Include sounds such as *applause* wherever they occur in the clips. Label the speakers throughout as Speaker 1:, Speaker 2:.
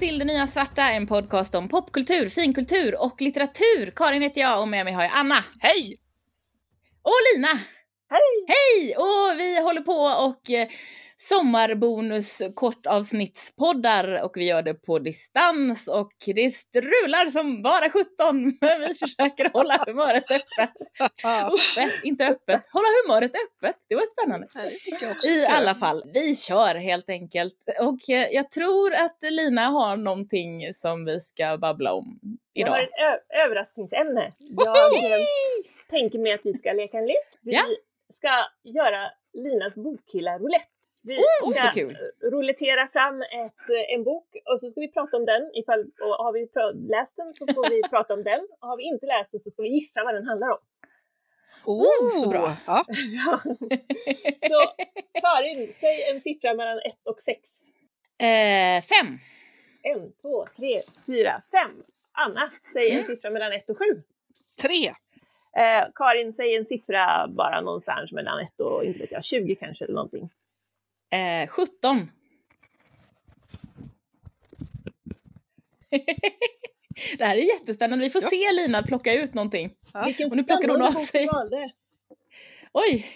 Speaker 1: till Det Nya Svarta, en podcast om popkultur, finkultur och litteratur. Karin heter jag och med mig har jag Anna.
Speaker 2: Hej!
Speaker 1: Och Lina!
Speaker 3: Hej!
Speaker 1: Hej! Och vi håller på och eh, sommarbonus kortavsnittspoddar och vi gör det på distans och det strular som bara sjutton men vi försöker hålla humöret öppet. Oh. Öppet, inte öppet. Hålla humöret öppet, det var spännande.
Speaker 2: Nej, det tycker jag också
Speaker 1: I
Speaker 2: ska
Speaker 1: alla
Speaker 2: göra.
Speaker 1: fall, vi kör helt enkelt. Och eh, jag tror att Lina har någonting som vi ska babbla om
Speaker 3: Jag har
Speaker 1: idag.
Speaker 3: ett ö- överraskningsämne. Jag
Speaker 2: Woho!
Speaker 3: eh, tänker mig att vi ska leka en lek. Vi
Speaker 1: Ja.
Speaker 3: ska göra Linas bokhylla roulette. Vi
Speaker 1: Oh,
Speaker 3: ska
Speaker 1: så kul!
Speaker 3: roulettera fram ett, eh, en bok och så ska vi prata om den. Ifall, och har vi pra- läst den så får
Speaker 1: *laughs*
Speaker 3: vi prata om den. Och har vi inte läst den så ska vi gissa vad den handlar om.
Speaker 1: Oh, så bra.
Speaker 2: Ja.
Speaker 3: Ja. *laughs* så Karin, säg en siffra mellan 1 och 6.
Speaker 1: Eh, fem.
Speaker 3: 1, 2, 3, 4, 5. Anna, säg en
Speaker 1: Mm.
Speaker 3: siffra mellan 1 och 7.
Speaker 2: Tre.
Speaker 3: Eh, Karin, säg en siffra bara någonstans mellan 1 och inte vet jag, 20 kanske eller någonting.
Speaker 1: Eh, 17. *laughs* Det här är jättespännande. Vi får
Speaker 2: Ja.
Speaker 1: se Lina plocka ut någonting.
Speaker 2: Ja.
Speaker 3: Vilken
Speaker 1: Och nu plockar hon
Speaker 3: spännande
Speaker 1: av
Speaker 3: bok
Speaker 1: sig.
Speaker 3: du
Speaker 1: *laughs*
Speaker 3: valde.
Speaker 1: Oj!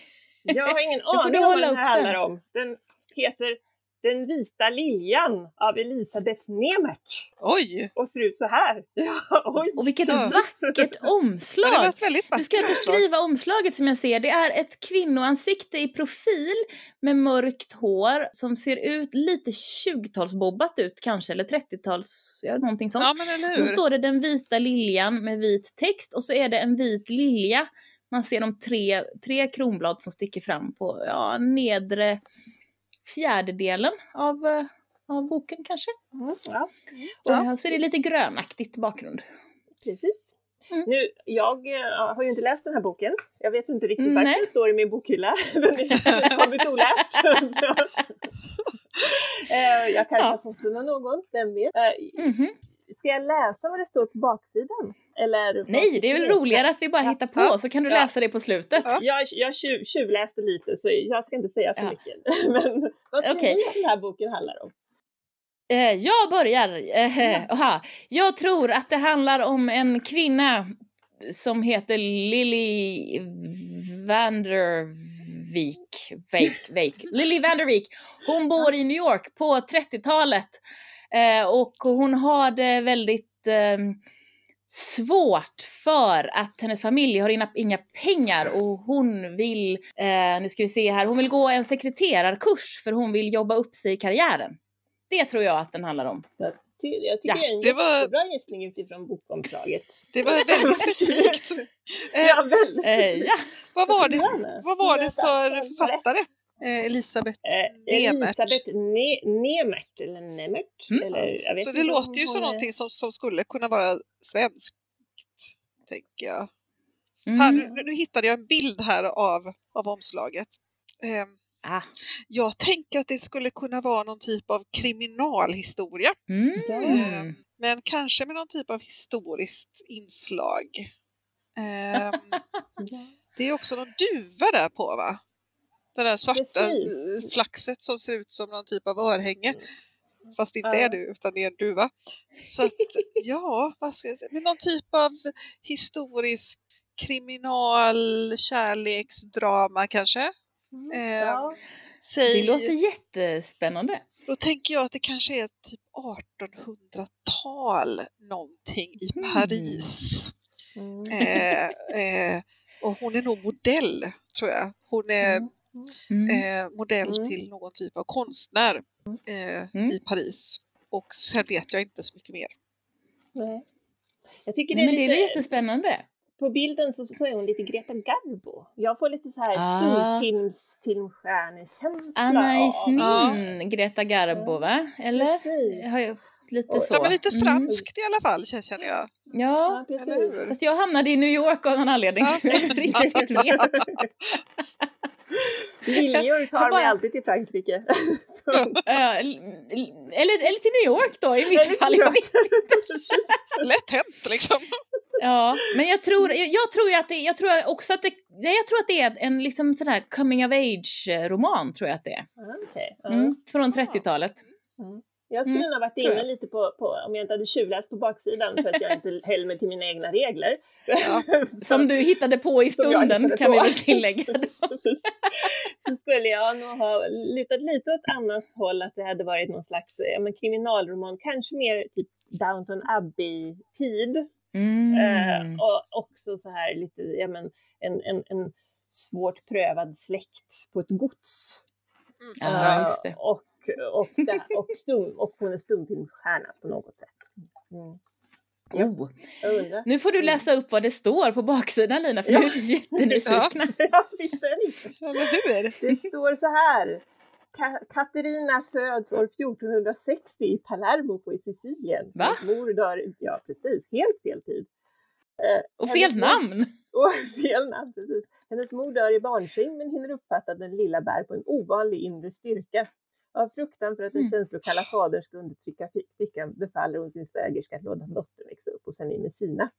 Speaker 3: Jag har ingen
Speaker 1: får du
Speaker 3: aning om vad
Speaker 1: hålla
Speaker 3: den här
Speaker 1: upp den.
Speaker 3: handlar om. Den heter Den vita liljan av Elisabeth Nemert
Speaker 2: Oj!
Speaker 3: och ser ut så här. *laughs* Ja, oj,
Speaker 1: Och vilket
Speaker 2: Ja.
Speaker 1: vackert
Speaker 2: Men det var
Speaker 1: omslag!
Speaker 2: ett väldigt
Speaker 1: Du ska
Speaker 2: vackert förslag.
Speaker 1: beskriva omslaget som jag ser. Det är ett kvinnoansikte i profil med mörkt hår som ser ut lite 20-talsbobbat ut kanske, eller 30-tals, ja, någonting sånt.
Speaker 2: Ja, men eller
Speaker 1: Så
Speaker 2: hur?
Speaker 1: står det den vita liljan med vit text och så är det en vit lilja. Man ser de tre, tre kronblad som sticker fram på ja, nedre fjärdedelen av, eh, av boken kanske.
Speaker 3: Mm, *laughs* ja,
Speaker 1: Och
Speaker 2: Ja.
Speaker 1: här så är det lite grönaktigt bakgrund.
Speaker 3: precis.
Speaker 1: Mm.
Speaker 3: Nu, jag eh, har ju inte läst den här boken. Jag vet inte riktigt
Speaker 1: Nej.
Speaker 3: varför den står i min bokhylla. *laughs* Den är- den har kommit
Speaker 1: *laughs*
Speaker 3: oläst. *laughs* Eh, jag kanske
Speaker 1: Ja.
Speaker 3: har fått den av någon, vem vet. Eh,
Speaker 2: Mm-hmm.
Speaker 1: Mhm.
Speaker 3: Ska jag läsa vad det står på baksidan? Eller vad
Speaker 1: Nej,
Speaker 3: tycker
Speaker 1: det är väl
Speaker 3: ni?
Speaker 1: roligare att vi bara hittar på så kan du
Speaker 3: Ja.
Speaker 1: läsa det på slutet.
Speaker 2: Ja.
Speaker 3: Jag, jag tjuv, tjuvläste lite så jag ska inte säga så
Speaker 1: Ja.
Speaker 3: mycket. *laughs* Men vad tror
Speaker 1: Okej.
Speaker 3: ni att den här boken handlar om?
Speaker 1: Eh, jag börjar. Eh, aha. Jag tror att det handlar om en kvinna som heter Lily Vandervik. Vik, Vik. Lily Vandervik. Hon bor i New York på 30-talet. Eh, och hon har det väldigt eh, svårt för att hennes familj har inga, inga pengar och hon vill, eh, nu ska vi se här, hon vill gå en sekreterarkurs för hon vill jobba upp sig i karriären. Det tror jag att den handlar om.
Speaker 3: Så att ty, jag
Speaker 1: Ja,
Speaker 3: tycker det är en
Speaker 2: det var-
Speaker 3: jättebra gissning utifrån bokomslaget.
Speaker 2: Det var
Speaker 1: *laughs*
Speaker 2: väldigt specifikt. Eh,
Speaker 3: Ja, väldigt. alltså.
Speaker 1: Eh, ja.
Speaker 2: Vad var det,
Speaker 3: Anna,
Speaker 2: vad var det
Speaker 3: berätta.
Speaker 2: för författare? Eh, Elisabeth.
Speaker 3: Eh,
Speaker 2: Nemert.
Speaker 3: Elisabeth ne- Nemert, eller Nemert.
Speaker 1: Mm.
Speaker 3: Eller, jag vet
Speaker 2: Så
Speaker 3: inte
Speaker 2: det
Speaker 3: om
Speaker 2: låter ju
Speaker 3: hon
Speaker 2: som
Speaker 3: är-
Speaker 2: någonting som, som skulle kunna vara svenskt, tänker jag. Här,
Speaker 1: Mm.
Speaker 2: nu, nu hittade jag en bild här av, av omslaget. Eh,
Speaker 1: Ah.
Speaker 2: jag tänker att det skulle kunna vara någon typ av kriminalhistoria.
Speaker 1: Mm.
Speaker 2: Men kanske med någon typ av historiskt inslag. Ehm, det är också någon duva där på va? Det där svarta
Speaker 3: Precis.
Speaker 2: eh, flaxet som ser ut som någon typ av örhänge. Fast det inte
Speaker 3: Ja.
Speaker 2: är du utan det är en duva. Så att, ja, vad ska jag säga? Men någon typ av historisk kriminal kärleksdrama kanske. Ehm,
Speaker 3: Mm. Ja.
Speaker 2: Säg,
Speaker 1: Det låter jättespännande.
Speaker 2: Då tänker jag att det kanske är typ 1800-tal någonting i
Speaker 1: Mm.
Speaker 2: Paris.
Speaker 3: Mm.
Speaker 2: Eh, eh, och hon är nog modell, tror jag. Hon är
Speaker 3: Mm.
Speaker 1: Mm.
Speaker 2: eh, modell
Speaker 3: Mm.
Speaker 2: till någon typ av konstnär eh,
Speaker 1: Mm.
Speaker 2: i Paris. Och sen vet jag inte så mycket mer.
Speaker 3: Nej. Mm. Jag tycker det
Speaker 1: Nej,
Speaker 3: är
Speaker 1: men det
Speaker 3: lite...
Speaker 1: är jättespännande.
Speaker 3: på bilden så, så är hon lite Greta Garbo. Jag får lite så här
Speaker 1: Ah.
Speaker 3: storfilmsfilmstjärnekänsla.
Speaker 1: Anna i
Speaker 3: av-
Speaker 2: Ja.
Speaker 1: snin, Greta Garbo, va? Eller?
Speaker 3: Precis.
Speaker 1: Har jag lite
Speaker 3: Oj.
Speaker 1: så.
Speaker 2: Ja, men lite
Speaker 1: Mm.
Speaker 2: franskt i alla fall k- känner jag.
Speaker 1: Ja,
Speaker 3: Ja, precis.
Speaker 2: Eller hur?
Speaker 1: fast jag hamnade i New York av någon anledning
Speaker 2: Ja.
Speaker 1: som jag inte riktigt vet.
Speaker 3: Liljor
Speaker 1: Jag
Speaker 3: tar
Speaker 1: bara-
Speaker 3: mig alltid till Frankrike. *laughs* Så-
Speaker 1: Eh, l- eller, eller till New York då i mitt
Speaker 3: Eller
Speaker 1: fall.
Speaker 3: till
Speaker 1: Jag vet.
Speaker 2: Lätt hänt liksom.
Speaker 1: Ja, men jag tror, jag, jag tror ju att det, jag tror också att det, nej, jag tror att det är en liksom sån här coming of age eh, roman tror jag att det är.
Speaker 3: Ah, okej. Ja.
Speaker 1: Mm, från 30-talet.
Speaker 3: Mm. Jag skulle
Speaker 1: Mm,
Speaker 3: nog ha varit
Speaker 1: tror
Speaker 3: inne
Speaker 1: jag.
Speaker 3: lite på, på, om jag inte hade tjuvläst på baksidan för att jag
Speaker 1: *laughs*
Speaker 3: inte höll mig till mina egna regler.
Speaker 2: Ja.
Speaker 3: *laughs* Så-
Speaker 1: Som du hittade på i
Speaker 3: *laughs* som jag
Speaker 1: stunden
Speaker 3: hittade
Speaker 1: kan vi
Speaker 3: på. Eh,
Speaker 1: väl
Speaker 3: *laughs*
Speaker 1: tillägga.
Speaker 3: Precis. så skulle jag nog ha lutat lite åt annars håll, att det hade varit någon slags eh, ja, men kriminalroman, kanske mer typ Downton Abbey-tid. Eh,
Speaker 1: Mm.
Speaker 3: och också så här lite, ja men en, en, en svårt prövad släkt på ett gods.
Speaker 2: Mm.
Speaker 1: Ja,
Speaker 3: Eh,
Speaker 1: just det.
Speaker 3: Och, och, där, och, stum, och hon är stumfilmstjärna på något sätt. Mm.
Speaker 1: Oh.
Speaker 3: Jag undrar. *laughs*
Speaker 1: Nu får du läsa upp vad det står på baksidan Lina, för nu är vi jättenyfikna.
Speaker 3: Ja, visst är det inte.
Speaker 2: Ja, men hur?
Speaker 3: Det står så här. Ka- Katarina föds år 1460 i Palermo på i Sicilien.
Speaker 1: Va?
Speaker 3: Hennes Mor dör, ja precis, helt fel tid. *laughs*
Speaker 1: Och fel namn!
Speaker 3: Och fel namn, precis. Hennes mor dör i barnskinn men hinner uppfatta att den lilla bär på en ovanlig inre styrka. Av fruktan för att den
Speaker 1: Mm.
Speaker 3: känslokalla fadern ska undertrycka fi- flickan befaller hon sin svägerska att låta dottern växa upp hos henne i Messina.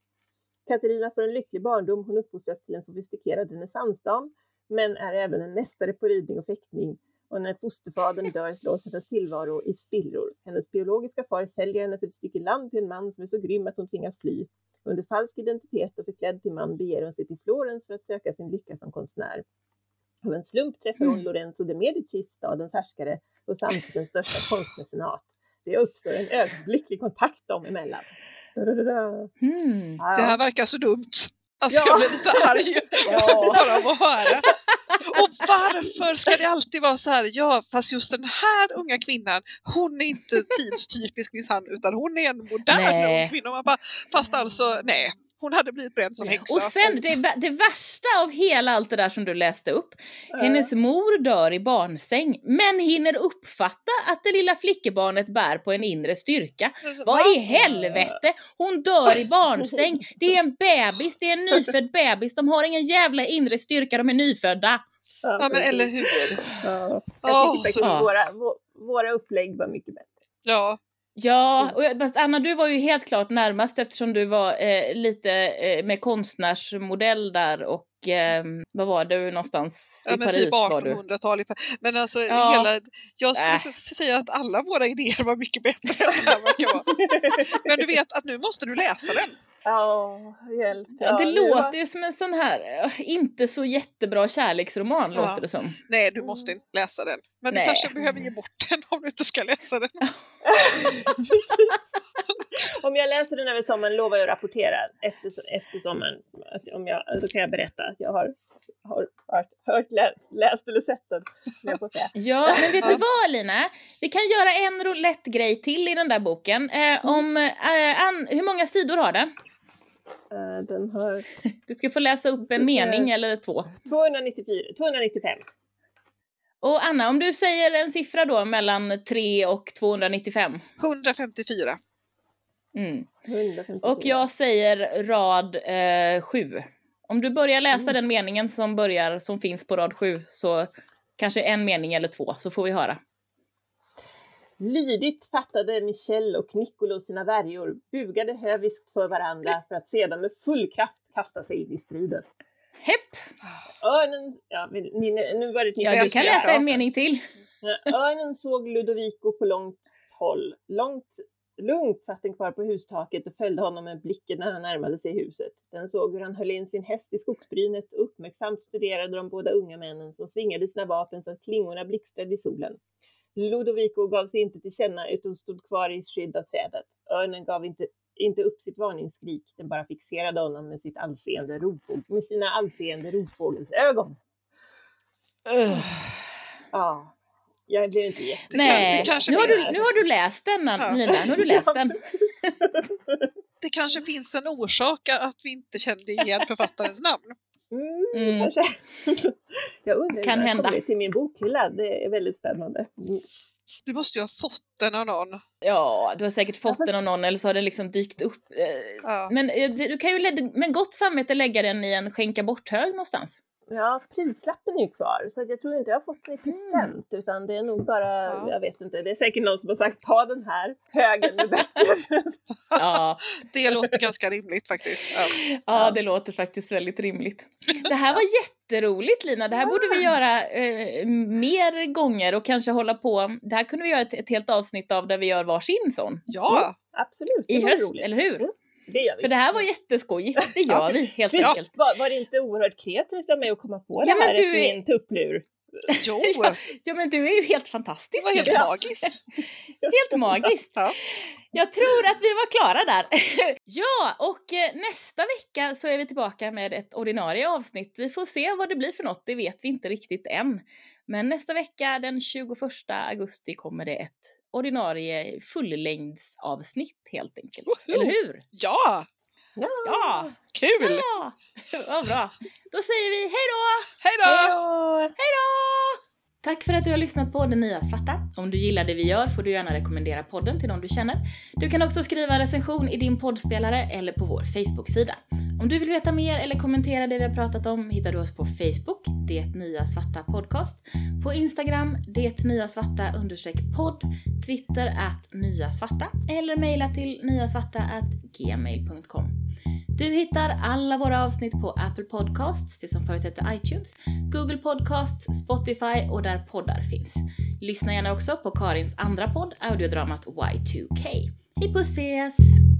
Speaker 3: Katarina får en lycklig barndom, hon uppfostras till en sofistikerad renässansdam, men är även en mästare på ridning och fäktning. Och när fosterfadern dör slås hennes tillvaro i spillror. Hennes biologiska far säljer henne för ett stycke land till en man som är så grym att hon tvingas fly. Under falsk identitet och förklädd till man beger hon sig till Florens för att söka sin lycka som konstnär. Av en slump träffar hon
Speaker 1: Mm.
Speaker 3: Lorenzo de Medici, stadens härskare och samtidigt den största konstmecenat. Det uppstår en ögonblicklig kontakt dem emellan. Da-da-da-da.
Speaker 1: Hmm.
Speaker 3: Ja,
Speaker 2: Det här verkar så dumt. Alltså
Speaker 3: Ja.
Speaker 2: jag blir lite arg
Speaker 1: Ja. *laughs*
Speaker 2: bara av att höra. Och varför ska det alltid vara så här, ja fast just den här unga kvinnan, hon är inte tidstypisk minsann utan hon är en modern
Speaker 1: Nej.
Speaker 2: ung kvinna. Och Man bara, fast alltså nej, hon hade blivit bränd som häxa.
Speaker 1: Och sen det, vä- det värsta av hela allt det där som du läste upp.
Speaker 3: Ja.
Speaker 1: Hennes mor dör i barnsäng men hinner uppfatta att det lilla flickebarnet bär på en inre styrka. Vad i helvete! Hon dör i barnsäng. Det är en bebis, det är en nyfödd bebis. De har ingen jävla inre styrka, de är nyfödda.
Speaker 2: Ja men
Speaker 3: precis.
Speaker 2: eller hur.
Speaker 3: Ja.
Speaker 2: Åh,
Speaker 3: Jag tycker
Speaker 2: så
Speaker 3: faktiskt
Speaker 1: dumt.
Speaker 3: våra, vå- våra upplägg var mycket bättre.
Speaker 2: Ja, Mm.
Speaker 1: Ja, och jag, fast Anna du var ju helt klart närmast eftersom du var eh, lite eh, med konstnärsmodell där och eh, vad var du någonstans
Speaker 2: ja
Speaker 1: i
Speaker 2: men
Speaker 1: Paris?
Speaker 2: typ
Speaker 1: var du.
Speaker 2: 1800-tal. i Pa- Men alltså
Speaker 1: Ja.
Speaker 2: hela, jag skulle
Speaker 1: Äh.
Speaker 2: så- säga att alla våra idéer var mycket bättre än det här verkar vara. Men du vet att nu måste du läsa den.
Speaker 3: Ja, hjälp.
Speaker 1: Ja, det
Speaker 3: nu
Speaker 1: låter
Speaker 3: har-
Speaker 1: ju som en sån här, eh, inte så jättebra kärleksroman
Speaker 2: Ja.
Speaker 1: låter det som.
Speaker 2: Nej, du måste inte läsa den. Men
Speaker 1: Mm. Nej.
Speaker 2: du kanske behöver ge bort den om du inte ska läsa den.
Speaker 3: *laughs* Precis. Om jag läser den över sommaren lovar jag att rapportera efter, efter sommaren. Att om jag, så kan jag berätta att jag har, har hört, hört läst, läst eller sett den. höll Jag på att säga.
Speaker 1: Ja, men vet du
Speaker 2: Ja.
Speaker 1: vad Lina? Vi kan göra en roulette grej till i den där boken. Eh, om, eh, an, hur många sidor har den?
Speaker 3: Eh, Den har
Speaker 1: Du ska få läsa upp en mening eller två.
Speaker 3: 294, 295.
Speaker 1: Och Anna, om du säger en siffra då mellan 3 och 295.
Speaker 2: 154.
Speaker 1: Mm.
Speaker 3: 154.
Speaker 1: Och jag säger rad 7. om du börjar läsa den meningen som, börjar, som finns på rad 7 så kanske en mening eller två så får vi höra.
Speaker 3: Lydigt fattade Michel och Niccolo sina värjor, bugade höviskt för varandra för att sedan med full kraft kasta sig in i striden.
Speaker 1: Hepp!
Speaker 3: Örnen, ja, men ni, nu var det ett nytt
Speaker 1: Ja, du kan
Speaker 2: älskar
Speaker 1: läsa en
Speaker 2: jag.
Speaker 1: mening till.
Speaker 3: Ja, Eh, Örnen såg Ludovico på långt håll. Långt, lugnt satt den kvar på hustaket och följde honom med blicken när han närmade sig huset. Den såg hur han höll in sin häst i skogsbrynet och uppmärksamt studerade de båda unga männen som svingade sina vapen så att klingorna blixtrade i solen. Ludovico gav sig inte till känna utan stod kvar i skydd av trädet. Örnen gav inte, inte upp sitt varningsskrik, den bara fixerade honom med, sitt allseende rovfågel, med sina allseende rovfågelsögon. Ja, jag blev inte jätte...
Speaker 2: Det
Speaker 1: Nej,
Speaker 2: kan- det kanske
Speaker 1: nu, har
Speaker 2: finns.
Speaker 1: du, nu har du läst den Ann-
Speaker 2: Ja.
Speaker 1: Nina, nu har du
Speaker 3: *laughs*
Speaker 1: läst den.
Speaker 2: Det kanske finns en orsak att vi inte kände igen författarens namn.
Speaker 3: Mm,
Speaker 1: Mm.
Speaker 3: kanske. *laughs* Jag
Speaker 1: Kan
Speaker 3: undrar kan hända.
Speaker 1: hända.
Speaker 3: kommer till min bokhylla. Det är väldigt spännande. Mm.
Speaker 2: Du måste ju ha fått den av någon.
Speaker 1: Ja, du har säkert fått
Speaker 3: fast-
Speaker 1: den av någon eller så har den liksom dykt upp. eh,
Speaker 2: Ja.
Speaker 1: Men eh, du kan ju lä- med gott samvete lägga den i en skänka bort-hög någonstans.
Speaker 3: Ja, prislappen är ju kvar så att jag tror inte jag har fått den i present utan det är nog bara,
Speaker 2: Ja.
Speaker 3: jag vet inte, det är säkert någon som har sagt ta den här högen med böcker.
Speaker 2: *laughs*
Speaker 1: Ja,
Speaker 2: Det låter ganska rimligt faktiskt. Ja.
Speaker 1: ja, det låter faktiskt väldigt rimligt. Det här var jätteroligt Lina. Det här borde vi göra eh, mer gånger och kanske hålla på. Det här kunde vi göra ett, ett helt avsnitt av där vi gör varsin sån.
Speaker 2: ja.
Speaker 3: *laughs* Absolut, det
Speaker 1: I
Speaker 3: var
Speaker 1: höst,
Speaker 3: roligt. Mm.
Speaker 1: eller hur?
Speaker 3: Det gör vi.
Speaker 1: För det här var jätteskojigt. Det gör vi helt
Speaker 3: Visst
Speaker 1: enkelt.
Speaker 3: Var, var det inte oerhört kreativt av mig att komma på
Speaker 1: Ja,
Speaker 3: det
Speaker 1: men
Speaker 3: här
Speaker 1: du
Speaker 3: efter
Speaker 1: är-
Speaker 3: min tupplur?
Speaker 1: Mm. *laughs*
Speaker 2: Jo,
Speaker 1: Ja, Ja, men du är ju helt fantastisk.
Speaker 2: det var helt
Speaker 1: Lina.
Speaker 2: magiskt.
Speaker 1: Helt
Speaker 3: *laughs*
Speaker 1: magiskt.
Speaker 2: Ja.
Speaker 1: Jag tror att vi var klara där. *laughs* Ja, och eh, nästa vecka så är vi tillbaka med ett ordinarie avsnitt. Vi får se vad det blir för något, det vet vi inte riktigt än. Men nästa vecka, den 21 augusti, kommer det ett ordinarie fullängdsavsnitt helt enkelt.
Speaker 2: Woho!
Speaker 1: Eller hur?
Speaker 2: Ja,
Speaker 1: Ja!
Speaker 2: kul!
Speaker 1: ja. Vad bra. Då säger vi hej då!
Speaker 2: Hej då!
Speaker 3: Hej då!
Speaker 1: Tack för att du har lyssnat på Det Nya Svarta. Om du gillar det vi gör får du gärna rekommendera podden till någon du känner. Du kan också skriva recension i din poddspelare eller på vår Facebook-sida. Om du vill veta mer eller kommentera det vi har pratat om hittar du oss på Facebook, Det Nya Svarta Podcast, på Instagram, Det Nya Svarta understreck podd, Twitter att Nya Svarta eller mejla till nyasvarta at gmail.com. Du hittar alla våra avsnitt på Apple Podcasts, det som förut hette iTunes, Google Podcasts, Spotify och där poddar finns. Lyssna gärna också på Karins andra podd, audiodramat Y2K. Hej puss ses!